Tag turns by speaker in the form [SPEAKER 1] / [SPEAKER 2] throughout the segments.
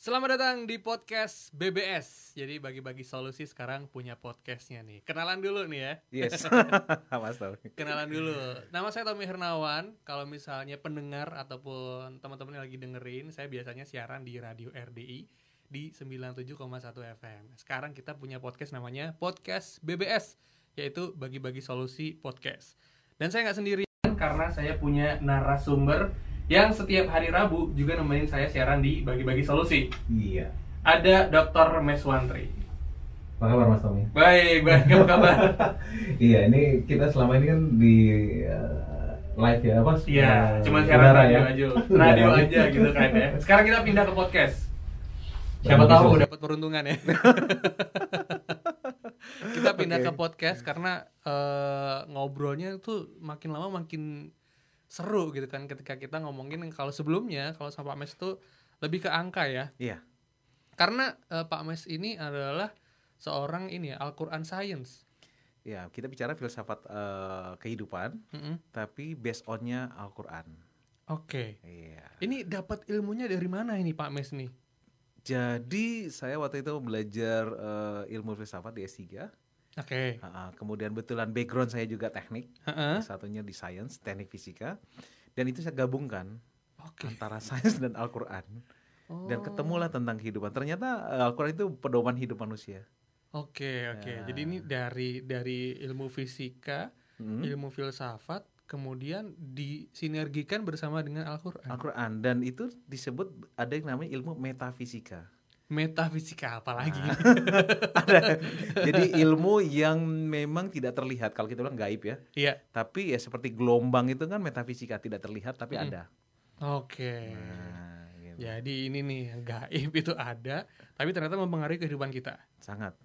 [SPEAKER 1] Selamat datang di podcast BBS. Jadi bagi-bagi solusi sekarang punya podcastnya nih. Kenalan dulu nih ya.
[SPEAKER 2] Yes. Mas Tommy.
[SPEAKER 1] Kenalan dulu. Nama saya Tommy Hernawan. Kalau misalnya pendengar ataupun teman-teman yang lagi dengerin, saya biasanya siaran di radio RDI di 97,1 FM. Sekarang kita punya podcast namanya Podcast BBS, yaitu bagi-bagi solusi podcast. Dan saya nggak sendirian karena saya punya narasumber yang setiap hari Rabu juga nemenin saya siaran di bagi-bagi solusi.
[SPEAKER 2] Iya.
[SPEAKER 1] Ada Dr. Meswantri.
[SPEAKER 2] Apa kabar Mas Tommy?
[SPEAKER 1] Baik, baik, apa kabar?
[SPEAKER 2] Iya, ini kita selama ini kan di eh, live ya, apa?
[SPEAKER 1] Iya,
[SPEAKER 2] Eh,
[SPEAKER 1] cuma siaran
[SPEAKER 2] udara
[SPEAKER 1] radio
[SPEAKER 2] ya.
[SPEAKER 1] aja,
[SPEAKER 2] Udara.
[SPEAKER 1] radio aja gitu kan ya. Sekarang kita pindah ke podcast. Siapa
[SPEAKER 2] Bagus,
[SPEAKER 1] tahu
[SPEAKER 2] bagus.
[SPEAKER 1] dapat peruntungan ya. kita pindah ke podcast karena eh, ngobrolnya tuh makin lama makin seru gitu kan ketika kita ngomongin kalau sebelumnya kalau sama Pak Mes tuh lebih ke angka ya.
[SPEAKER 2] Iya.
[SPEAKER 1] Karena eh, Pak Mes ini adalah seorang ini ya, Al-Qur'an Science.
[SPEAKER 3] Ya, kita bicara filsafat eh, kehidupan,
[SPEAKER 1] Mm-mm.
[SPEAKER 3] tapi based onnya Al-Quran.
[SPEAKER 1] Oke.
[SPEAKER 3] Iya.
[SPEAKER 1] Ini dapat ilmunya dari mana ini Pak Mes nih?
[SPEAKER 3] Jadi saya waktu itu belajar eh, ilmu filsafat di S3.
[SPEAKER 1] Oke.
[SPEAKER 3] Ah, ah, kemudian betulan background saya juga teknik,
[SPEAKER 1] Heeh.
[SPEAKER 3] satunya di science, teknik fisika. Dan itu saya gabungkan
[SPEAKER 1] Oke.
[SPEAKER 3] antara sains dan Al-Quran. Dan
[SPEAKER 1] Oh.
[SPEAKER 3] ketemulah tentang kehidupan. Ternyata eh, Al-Quran itu pedoman hidup manusia.
[SPEAKER 1] Oke oke.
[SPEAKER 3] Nah.
[SPEAKER 1] Jadi ini dari dari ilmu fisika,
[SPEAKER 3] Mm.
[SPEAKER 1] ilmu filsafat, kemudian disinergikan bersama dengan Al-Qur'an.
[SPEAKER 3] Al-Quran. Dan itu disebut ada yang namanya ilmu metafisika.
[SPEAKER 1] Metafisika apalagi.
[SPEAKER 3] Ah. ada jadi ilmu yang memang tidak terlihat kalau kita bilang gaib ya
[SPEAKER 1] Iya.
[SPEAKER 3] tapi ya seperti gelombang itu kan metafisika tidak terlihat tapi
[SPEAKER 1] Mm-mm. Iya,
[SPEAKER 3] ada
[SPEAKER 1] Oke.
[SPEAKER 3] Nah, gitu.
[SPEAKER 1] Jadi ini nih yang gaib itu ada, tapi ternyata mempengaruhi kehidupan kita.
[SPEAKER 3] sangat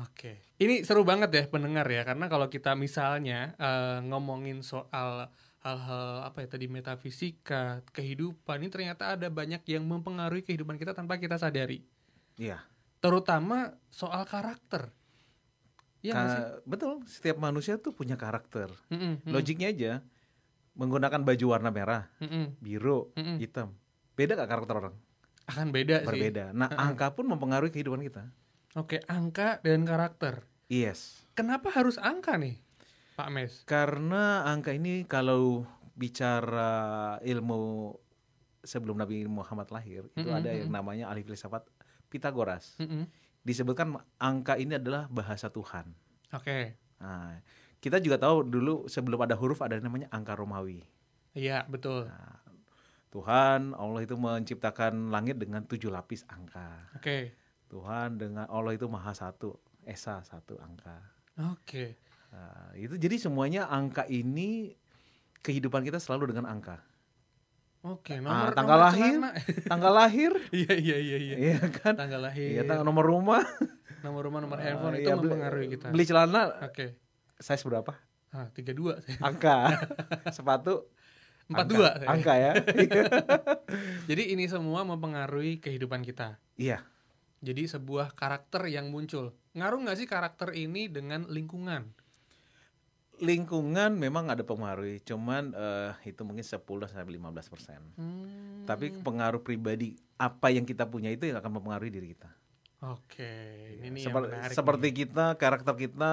[SPEAKER 1] Oke. Ini seru banget ya pendengar ya, karena kalau kita misalnya eh, ngomongin soal hal-hal apa ya tadi metafisika, kehidupan ini ternyata ada banyak yang mempengaruhi kehidupan kita tanpa kita sadari.
[SPEAKER 3] Iya.
[SPEAKER 1] Terutama soal karakter. Iya nggak sih? Mm.
[SPEAKER 3] Ka- betul setiap manusia tuh punya karakter
[SPEAKER 1] Mm-mm, mm-mm,
[SPEAKER 3] logiknya aja menggunakan baju warna merah
[SPEAKER 1] mm-mm,
[SPEAKER 3] biru
[SPEAKER 1] mm-mm.
[SPEAKER 3] hitam beda gak karakter orang
[SPEAKER 1] Akan beda Mm. sih.
[SPEAKER 3] Iya. berbeda nah
[SPEAKER 1] Mm-mm.
[SPEAKER 3] angka pun mempengaruhi kehidupan kita
[SPEAKER 1] Oke, angka dan karakter.
[SPEAKER 3] yes
[SPEAKER 1] Kenapa harus angka nih, Pak Mes?
[SPEAKER 3] Karena angka ini kalau bicara ilmu sebelum Nabi Muhammad lahir itu
[SPEAKER 1] Mm-mm,
[SPEAKER 3] ada yang
[SPEAKER 1] mm-mm. Mm.
[SPEAKER 3] namanya ahli filsafat Pitagoras.
[SPEAKER 1] Mm-mm.
[SPEAKER 3] Disebutkan angka ini adalah bahasa Tuhan.
[SPEAKER 1] Oke.
[SPEAKER 3] Nah, kita juga tahu dulu sebelum ada huruf ada yang namanya angka Romawi.
[SPEAKER 1] Iya, betul.
[SPEAKER 3] Nah, Tuhan Allah itu menciptakan langit dengan tujuh lapis angka.
[SPEAKER 1] Oke.
[SPEAKER 3] Tuhan dengan Allah itu Maha Satu, Esa satu angka.
[SPEAKER 1] Oke.
[SPEAKER 3] Nah, itu jadi semuanya angka ini kehidupan kita selalu dengan angka.
[SPEAKER 1] Oke,
[SPEAKER 3] Ah,
[SPEAKER 1] nomor
[SPEAKER 3] tanggal
[SPEAKER 1] nomor
[SPEAKER 3] lahir?
[SPEAKER 1] celana.
[SPEAKER 3] tanggal lahir
[SPEAKER 1] Iya, iya, iya, iya.
[SPEAKER 3] iya kan
[SPEAKER 1] tanggal lahir,
[SPEAKER 3] iya tang- nomor rumah
[SPEAKER 1] nomor rumah, nomor
[SPEAKER 3] Ah,
[SPEAKER 1] handphone itu
[SPEAKER 3] iya, beli-
[SPEAKER 1] mempengaruhi kita.
[SPEAKER 3] beli celana
[SPEAKER 1] Oke.
[SPEAKER 3] size berapa
[SPEAKER 1] Ah, 32 saya.
[SPEAKER 3] angka sepatu
[SPEAKER 1] 42 saya.
[SPEAKER 3] angka, angka ya
[SPEAKER 1] Iya. Jadi ini semua mempengaruhi kehidupan kita.
[SPEAKER 3] Iya.
[SPEAKER 1] Jadi sebuah karakter yang muncul. Ngaruh nggak sih karakter ini dengan lingkungan?
[SPEAKER 3] lingkungan memang ada pengaruh cuman eh, itu mungkin 10 sampai 15 persen
[SPEAKER 1] Hmm.
[SPEAKER 3] tapi pengaruh pribadi apa yang kita punya itu yang akan mempengaruhi diri kita
[SPEAKER 1] Oke, ini nih
[SPEAKER 3] Seper-
[SPEAKER 1] yang menarik.
[SPEAKER 3] seperti
[SPEAKER 1] nih.
[SPEAKER 3] kita karakter kita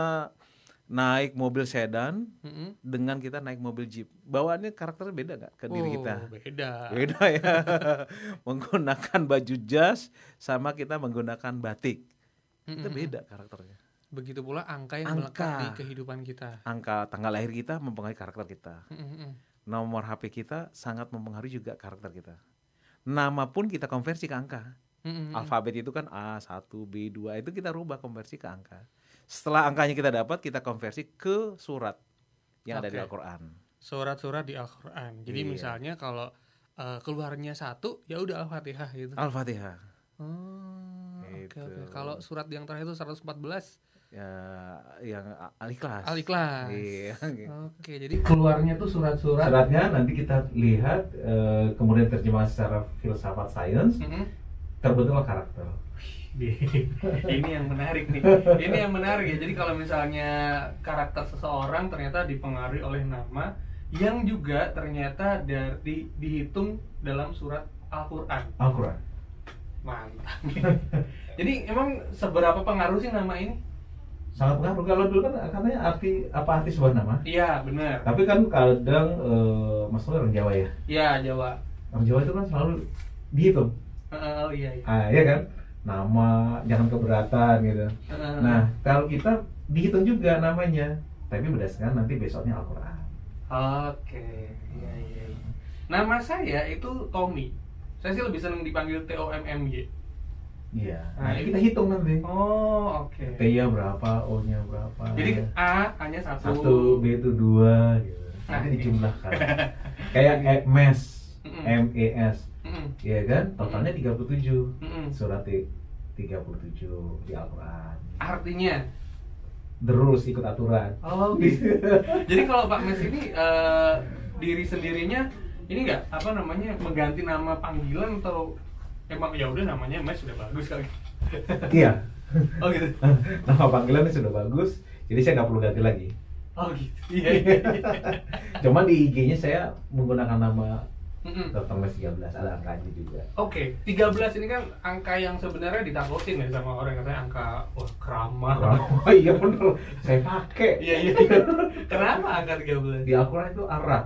[SPEAKER 3] naik mobil sedan
[SPEAKER 1] Mm-mm.
[SPEAKER 3] dengan kita naik mobil jeep bawaannya karakternya beda nggak ke diri
[SPEAKER 1] Oh,
[SPEAKER 3] kita
[SPEAKER 1] Beda.
[SPEAKER 3] Beda ya. menggunakan baju jas sama kita menggunakan batik. Itu
[SPEAKER 1] Mm-mm.
[SPEAKER 3] beda karakternya.
[SPEAKER 1] Begitu pula angka yang melekat
[SPEAKER 3] Angka.
[SPEAKER 1] di kehidupan kita.
[SPEAKER 3] Angka tanggal lahir kita mempengaruhi karakter kita.
[SPEAKER 1] Mm-mm.
[SPEAKER 3] Nomor HP kita sangat mempengaruhi juga karakter kita. Nama pun kita konversi ke angka.
[SPEAKER 1] Mm-mm.
[SPEAKER 3] Alfabet itu kan A1, B2, itu kita rubah konversi ke angka. Setelah angkanya kita dapat, kita konversi ke surat yang ada di
[SPEAKER 1] Oke.
[SPEAKER 3] Al-Qur'an.
[SPEAKER 1] Surat-surat di Al-Qur'an. Jadi
[SPEAKER 3] Iya.
[SPEAKER 1] misalnya kalau eh, keluarnya satu, ya udah Al-Fatihah gitu.
[SPEAKER 3] Al-Fatihah.
[SPEAKER 1] Oh, oke oke.
[SPEAKER 3] Ah. Gitu.
[SPEAKER 1] Kalau surat yang terakhir itu 114
[SPEAKER 3] Ya, yang Al-Ikhlas.
[SPEAKER 1] Al-Ikhlas.
[SPEAKER 3] Iya.
[SPEAKER 1] Oke, jadi keluarnya tuh surat-surat.
[SPEAKER 2] Suratnya nanti kita lihat eh, kemudian terjemah secara filsafat sains
[SPEAKER 1] Mm-mm.
[SPEAKER 2] terbentuklah karakter.
[SPEAKER 1] Iya. Ini yang menarik nih. Ini yang menarik ya. Jadi kalau misalnya karakter seseorang ternyata dipengaruhi oleh nama yang juga ternyata dari dihitung dalam surat Al-Qur'an.
[SPEAKER 2] Al-Qur'an.
[SPEAKER 1] Mantap. Jadi emang seberapa pengaruh sih nama ini?
[SPEAKER 2] sangat pengaruh kalau dulu kan katanya arti apa arti sebuah nama
[SPEAKER 1] Iya, benar.
[SPEAKER 2] tapi kan kadang eh, maksudnya orang Jawa ya
[SPEAKER 1] Iya, Jawa.
[SPEAKER 2] orang Jawa itu kan selalu dihitung
[SPEAKER 1] Heeh, oh iya iya.
[SPEAKER 2] ah ya kan nama jangan keberatan gitu
[SPEAKER 1] Heeh.
[SPEAKER 2] nah kalau kita dihitung juga namanya tapi berdasarkan nanti besoknya Al-Quran
[SPEAKER 1] Oke, iya iya. iya. Nama saya itu Tommy. Saya sih lebih seneng dipanggil T O M M Y.
[SPEAKER 2] iya
[SPEAKER 1] Nah,
[SPEAKER 2] nah, kita hitung nanti
[SPEAKER 1] Oh, oke.
[SPEAKER 2] T nya berapa O nya berapa ya.
[SPEAKER 1] Jadi A hanya satu.
[SPEAKER 2] satu B itu dua gitu
[SPEAKER 1] Nah,
[SPEAKER 2] nanti
[SPEAKER 1] ini.
[SPEAKER 2] dijumlahkan kayak e- MES
[SPEAKER 1] Mm-mm.
[SPEAKER 2] M E S
[SPEAKER 1] Mm-mm,
[SPEAKER 2] ya kan totalnya 37
[SPEAKER 1] mm-mm.
[SPEAKER 2] surat i- 37 di Al-Quran
[SPEAKER 1] Ah. Artinya.
[SPEAKER 2] terus ikut aturan
[SPEAKER 1] Oh, gitu. Jadi kalau Pak Mes ini eh, diri sendirinya ini enggak apa namanya mengganti nama panggilan atau emang ya udah namanya Mes sudah bagus kali.
[SPEAKER 2] iya
[SPEAKER 1] Oh gitu.
[SPEAKER 2] nama panggilannya sudah bagus jadi saya nggak perlu ganti lagi
[SPEAKER 1] Oh gitu. Iya. iya, iya.
[SPEAKER 2] cuman di IG-nya saya menggunakan nama
[SPEAKER 1] Mm-mm.
[SPEAKER 2] Dr. Mas 13 ada angkanya juga
[SPEAKER 1] Oke, 13 ini kan angka yang sebenarnya ditakutin ya sama orang katanya angka wah keramat.
[SPEAKER 2] oh iya bener saya pakai
[SPEAKER 1] Iya iya. Kenapa angka 13?
[SPEAKER 2] di Al-Quran itu arah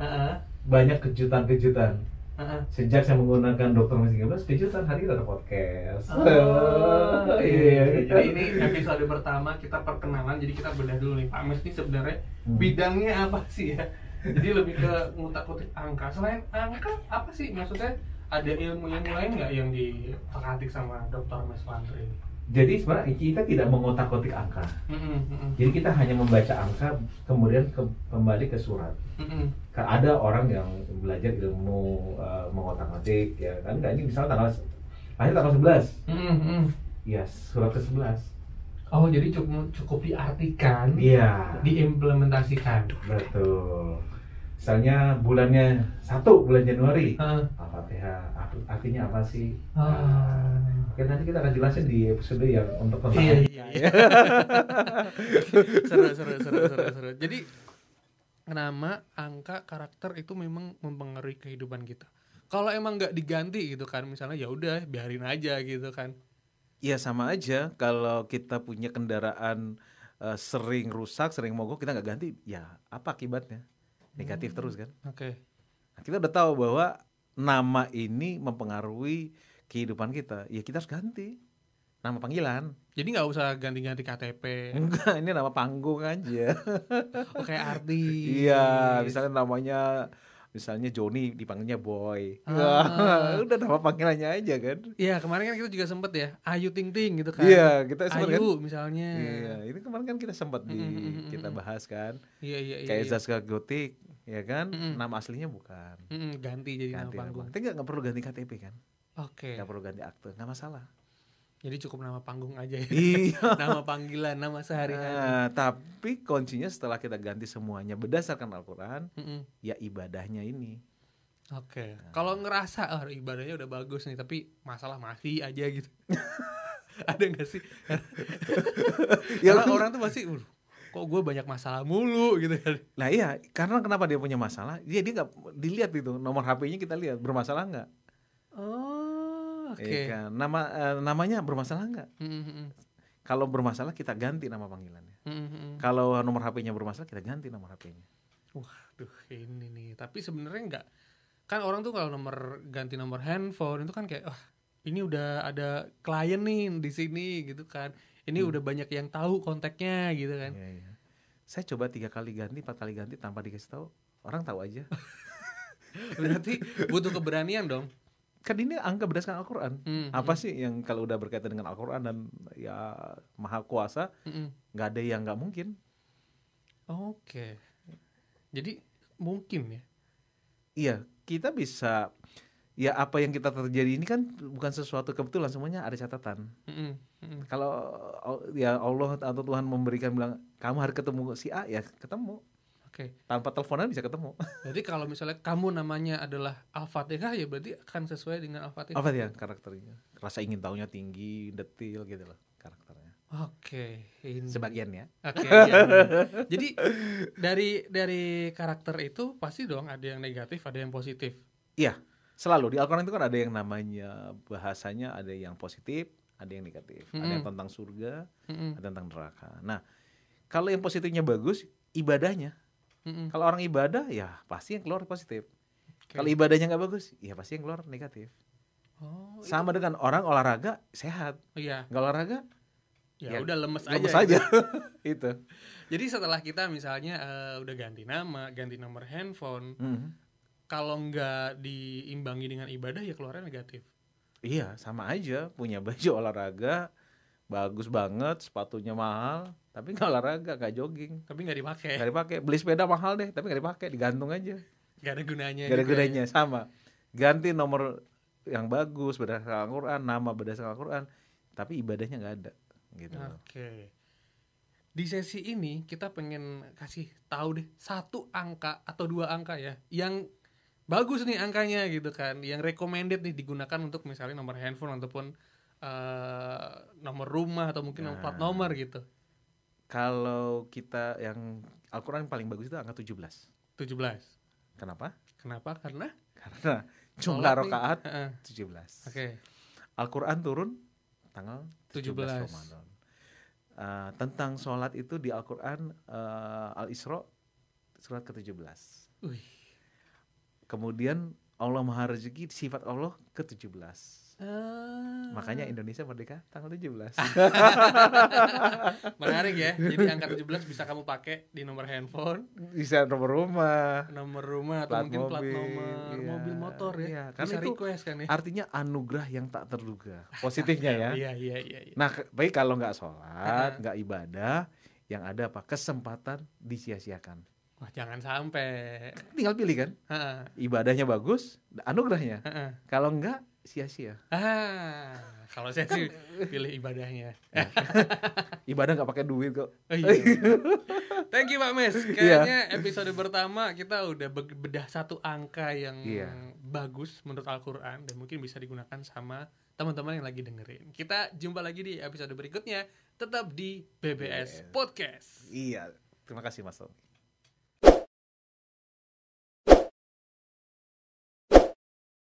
[SPEAKER 1] Heeh.
[SPEAKER 2] banyak kejutan-kejutan
[SPEAKER 1] Heeh.
[SPEAKER 2] sejak saya menggunakan Dr. Mas 13 kejutan hari ini ada podcast
[SPEAKER 1] Oh,
[SPEAKER 2] iya
[SPEAKER 1] iya. Jadi ini episode pertama kita perkenalan, jadi kita bedah dulu nih Pak Mes ini sebenarnya
[SPEAKER 2] Hmm.
[SPEAKER 1] bidangnya apa sih ya? Jadi lebih ke ngutak-ngutik angka. Selain angka, apa sih maksudnya? Ada ilmu yang lain nggak yang diperhatik sama Dr. Mes Lantri? ini?
[SPEAKER 2] jadi sebenarnya kita tidak mengotak-kotik angka
[SPEAKER 1] Mm-mm, mm-mm,
[SPEAKER 2] jadi kita hanya membaca angka kemudian ke- kembali ke surat
[SPEAKER 1] mm-mm.
[SPEAKER 2] Ka- ada orang yang belajar ilmu eh, mengotak-atik ya kan kayak ini misalnya tanggal lahir tanggal 11
[SPEAKER 1] Mm-mm, mm-mm.
[SPEAKER 2] ya surat ke 11
[SPEAKER 1] Oh, jadi cukup cukup diartikan,
[SPEAKER 2] iya
[SPEAKER 1] diimplementasikan.
[SPEAKER 2] betul misalnya bulannya satu bulan Januari
[SPEAKER 1] Heeh.
[SPEAKER 2] Al-Fatihah Apa- artinya apa sih Nah,
[SPEAKER 1] Ah.
[SPEAKER 2] Oke, nanti kita akan jelasin di episode yang untuk
[SPEAKER 3] Oh,
[SPEAKER 2] tentang
[SPEAKER 1] Iya, iya, iya. seru, seru, seru, seru, seru. Jadi nama, angka, karakter itu memang mempengaruhi kehidupan kita. Kalau emang nggak diganti gitu kan, misalnya ya udah biarin aja gitu kan.
[SPEAKER 3] Ya sama aja kalau kita punya kendaraan eh, sering rusak, sering mogok kita nggak ganti, ya apa akibatnya? Negatif terus kan?
[SPEAKER 1] Oke.
[SPEAKER 3] Nah, kita udah tahu bahwa nama ini mempengaruhi kehidupan kita. Ya kita harus ganti nama panggilan.
[SPEAKER 1] Jadi nggak usah ganti-ganti KTP.
[SPEAKER 3] Enggak, ini nama panggung aja.
[SPEAKER 1] Oh, kayak artis.
[SPEAKER 3] Iya, misalnya namanya misalnya Joni dipanggilnya Boy.
[SPEAKER 1] Ah.
[SPEAKER 3] udah nama panggilannya aja kan.
[SPEAKER 1] Iya, kemarin kan kita juga sempet ya, Ayu Ting Ting gitu kan.
[SPEAKER 3] Iya, kita sempat kan.
[SPEAKER 1] Ayu misalnya.
[SPEAKER 3] Iya, ini kemarin kan kita sempat di
[SPEAKER 1] Mm, mm, mm,
[SPEAKER 3] kita
[SPEAKER 1] mm.
[SPEAKER 3] bahas kan.
[SPEAKER 1] Iya, iya, iya.
[SPEAKER 3] Kayak
[SPEAKER 1] iya.
[SPEAKER 3] Zaskia Gotik, ya kan?
[SPEAKER 1] Mm-mm.
[SPEAKER 3] Nama aslinya bukan.
[SPEAKER 1] Mm-mm, ganti jadi nama
[SPEAKER 3] Ganti nama.
[SPEAKER 1] panggung. Iya.
[SPEAKER 3] Tapi nggak nggak perlu ganti KTP kan?
[SPEAKER 1] Oke.
[SPEAKER 3] Nggak perlu ganti akte, nggak masalah.
[SPEAKER 1] Jadi cukup nama panggung aja ya.
[SPEAKER 3] Iya.
[SPEAKER 1] nama panggilan, nama sehari-hari.
[SPEAKER 3] Nah, tapi kuncinya setelah kita ganti semuanya berdasarkan Al-Quran,
[SPEAKER 1] Mm-mm.
[SPEAKER 3] ya ibadahnya ini.
[SPEAKER 1] Oke. Kalau ngerasa oh, ibadahnya udah bagus nih, tapi masalah masih aja gitu. Ada nggak sih?
[SPEAKER 3] Ya,
[SPEAKER 1] Karena
[SPEAKER 3] kan?
[SPEAKER 1] orang tuh pasti, "Waduh, kok gue banyak masalah mulu gitu kan.
[SPEAKER 3] Nah iya, karena kenapa dia punya masalah? Dia dia nggak dilihat itu nomor HP-nya kita lihat bermasalah nggak?
[SPEAKER 1] Oh, oke.
[SPEAKER 3] Iya kan? Nama eh, namanya bermasalah nggak?
[SPEAKER 1] Mm, mm, mm.
[SPEAKER 3] Kalau bermasalah kita ganti nama panggilannya.
[SPEAKER 1] Mm, mm, mm.
[SPEAKER 3] Kalau nomor HP-nya bermasalah kita ganti nomor HP-nya.
[SPEAKER 1] Waduh, ini nih. Tapi sebenarnya nggak. Kan orang tuh kalau nomor ganti nomor handphone itu kan kayak, wah ini udah ada klien nih di sini gitu kan. Ini udah banyak yang tahu kontaknya gitu kan.
[SPEAKER 3] Iya, iya. Saya coba tiga kali ganti, empat kali ganti tanpa dikasih tahu. Orang tahu aja.
[SPEAKER 1] Berarti butuh keberanian dong.
[SPEAKER 3] Kan ini angka berdasarkan Al-Quran.
[SPEAKER 1] Hmm,
[SPEAKER 3] Apa sih yang kalau udah berkaitan dengan Al-Quran dan ya maha kuasa,
[SPEAKER 1] Mm-mm.
[SPEAKER 3] nggak ada yang nggak mungkin.
[SPEAKER 1] Oke. Jadi mungkin ya.
[SPEAKER 3] Iya, kita bisa ya apa yang kita terjadi ini kan bukan sesuatu kebetulan semuanya ada catatan.
[SPEAKER 1] Mm-mm, mm-mm.
[SPEAKER 3] Kalau ya Allah atau Tuhan memberikan bilang kamu harus ketemu si A ya ketemu
[SPEAKER 1] Oke.
[SPEAKER 3] tanpa teleponan bisa ketemu.
[SPEAKER 1] Berarti kalau misalnya kamu namanya adalah Al-Fatihah ya berarti akan sesuai dengan Al-Fatihah.
[SPEAKER 3] Apa dia karakternya? Rasa ingin tahunya tinggi, detil gitu loh karakternya.
[SPEAKER 1] Oke. ini.
[SPEAKER 3] Sebagian ya.
[SPEAKER 1] Oke. iya, iya. Jadi dari dari karakter itu pasti dong ada yang negatif, ada yang positif.
[SPEAKER 3] Iya. selalu di Al-Quran itu kan ada yang namanya bahasanya ada yang positif, ada yang negatif, ada yang
[SPEAKER 1] Mm-mm.
[SPEAKER 3] tentang surga,
[SPEAKER 1] Mm-mm.
[SPEAKER 3] ada tentang neraka. Nah, kalau yang positifnya bagus, ibadahnya.
[SPEAKER 1] Mm-mm.
[SPEAKER 3] Kalau orang ibadah, ya pasti yang keluar positif.
[SPEAKER 1] Oke.
[SPEAKER 3] Kalau ibadahnya nggak bagus, ya pasti yang keluar negatif.
[SPEAKER 1] Oh, itu-
[SPEAKER 3] Sama dengan orang olahraga sehat,
[SPEAKER 1] Iya,
[SPEAKER 3] nggak olahraga
[SPEAKER 1] ya,
[SPEAKER 3] Ya,
[SPEAKER 1] udah lemes,
[SPEAKER 3] lemes
[SPEAKER 1] aja. gitu.
[SPEAKER 3] aja. itu.
[SPEAKER 1] Jadi setelah kita misalnya eh, udah ganti nama, ganti nomor handphone,
[SPEAKER 3] Mm.
[SPEAKER 1] kalau nggak diimbangi dengan ibadah ya keluarnya negatif.
[SPEAKER 3] Iya, sama aja. Punya baju olahraga, bagus banget, sepatunya mahal, tapi nggak olahraga, nggak jogging.
[SPEAKER 1] Tapi nggak dipakai,
[SPEAKER 3] Nggak dipakai. Beli sepeda mahal deh, tapi nggak dipakai, digantung aja.
[SPEAKER 1] nggak ada gunanya.
[SPEAKER 3] Nggak ada
[SPEAKER 1] juga ya.
[SPEAKER 3] gunanya, sama. Ganti nomor yang bagus berdasarkan Al-Quran, nama berdasarkan Al-Quran, tapi ibadahnya nggak ada. Gitu.
[SPEAKER 1] Oke. Di sesi ini kita pengen kasih tahu deh satu angka atau dua angka ya yang bagus nih angkanya gitu kan, yang recommended nih digunakan untuk misalnya nomor handphone ataupun eh, nomor rumah atau mungkin nomor plat
[SPEAKER 3] Nah.
[SPEAKER 1] nomor gitu.
[SPEAKER 3] Kalau kita yang Al-Quran yang paling bagus itu angka 17.
[SPEAKER 1] 17.
[SPEAKER 3] Kenapa?
[SPEAKER 1] Kenapa? Karena
[SPEAKER 3] Karena jumlah
[SPEAKER 1] sholat nih.
[SPEAKER 3] rokaat
[SPEAKER 1] Heeh.
[SPEAKER 3] 17.
[SPEAKER 1] Oke.
[SPEAKER 3] Al-Quran turun tanggal
[SPEAKER 1] 17.
[SPEAKER 3] 17, Ramadan. Eh, tentang sholat itu di Al-Quran eh, Al-Isra surat ke-17.
[SPEAKER 1] Wih.
[SPEAKER 3] Kemudian Allah Maha Rezeki sifat Allah ke-17. Eh.
[SPEAKER 1] Ah.
[SPEAKER 3] Makanya Indonesia merdeka tanggal 17.
[SPEAKER 1] menarik ya. Jadi angka 17 bisa kamu pakai di nomor handphone,
[SPEAKER 3] Bisa nomor rumah.
[SPEAKER 1] nomor rumah atau
[SPEAKER 3] Plat
[SPEAKER 1] mungkin plat
[SPEAKER 3] mobil,
[SPEAKER 1] nomor
[SPEAKER 3] iya.
[SPEAKER 1] mobil motor ya.
[SPEAKER 3] Iya, karena
[SPEAKER 1] bisa
[SPEAKER 3] itu
[SPEAKER 1] request kan ya.
[SPEAKER 3] Artinya anugerah yang tak terduga. Positifnya ya.
[SPEAKER 1] Iya iya iya. iya.
[SPEAKER 3] Nah, ke- baik kalau nggak sholat, nggak ibadah, yang ada apa? Kesempatan disia-siakan.
[SPEAKER 1] Wah, jangan sampai.
[SPEAKER 3] Tinggal pilih kan?
[SPEAKER 1] Heeh.
[SPEAKER 3] ibadahnya bagus, anugerahnya.
[SPEAKER 1] Heeh.
[SPEAKER 3] Kalau enggak sia-sia.
[SPEAKER 1] Ah, kalau saya sih pilih ibadahnya.
[SPEAKER 3] Ibadah nggak pakai duit kok.
[SPEAKER 1] Oh, iya. Thank you Pak Mes.
[SPEAKER 3] Iya.
[SPEAKER 1] Kayaknya episode pertama kita udah be- bedah satu angka yang
[SPEAKER 3] Iya.
[SPEAKER 1] bagus menurut Al-Qur'an dan mungkin bisa digunakan sama teman-teman yang lagi dengerin. Kita jumpa lagi di episode berikutnya tetap di BBS
[SPEAKER 3] Yes.
[SPEAKER 1] Podcast.
[SPEAKER 3] Iya. Terima kasih Mas Tommy.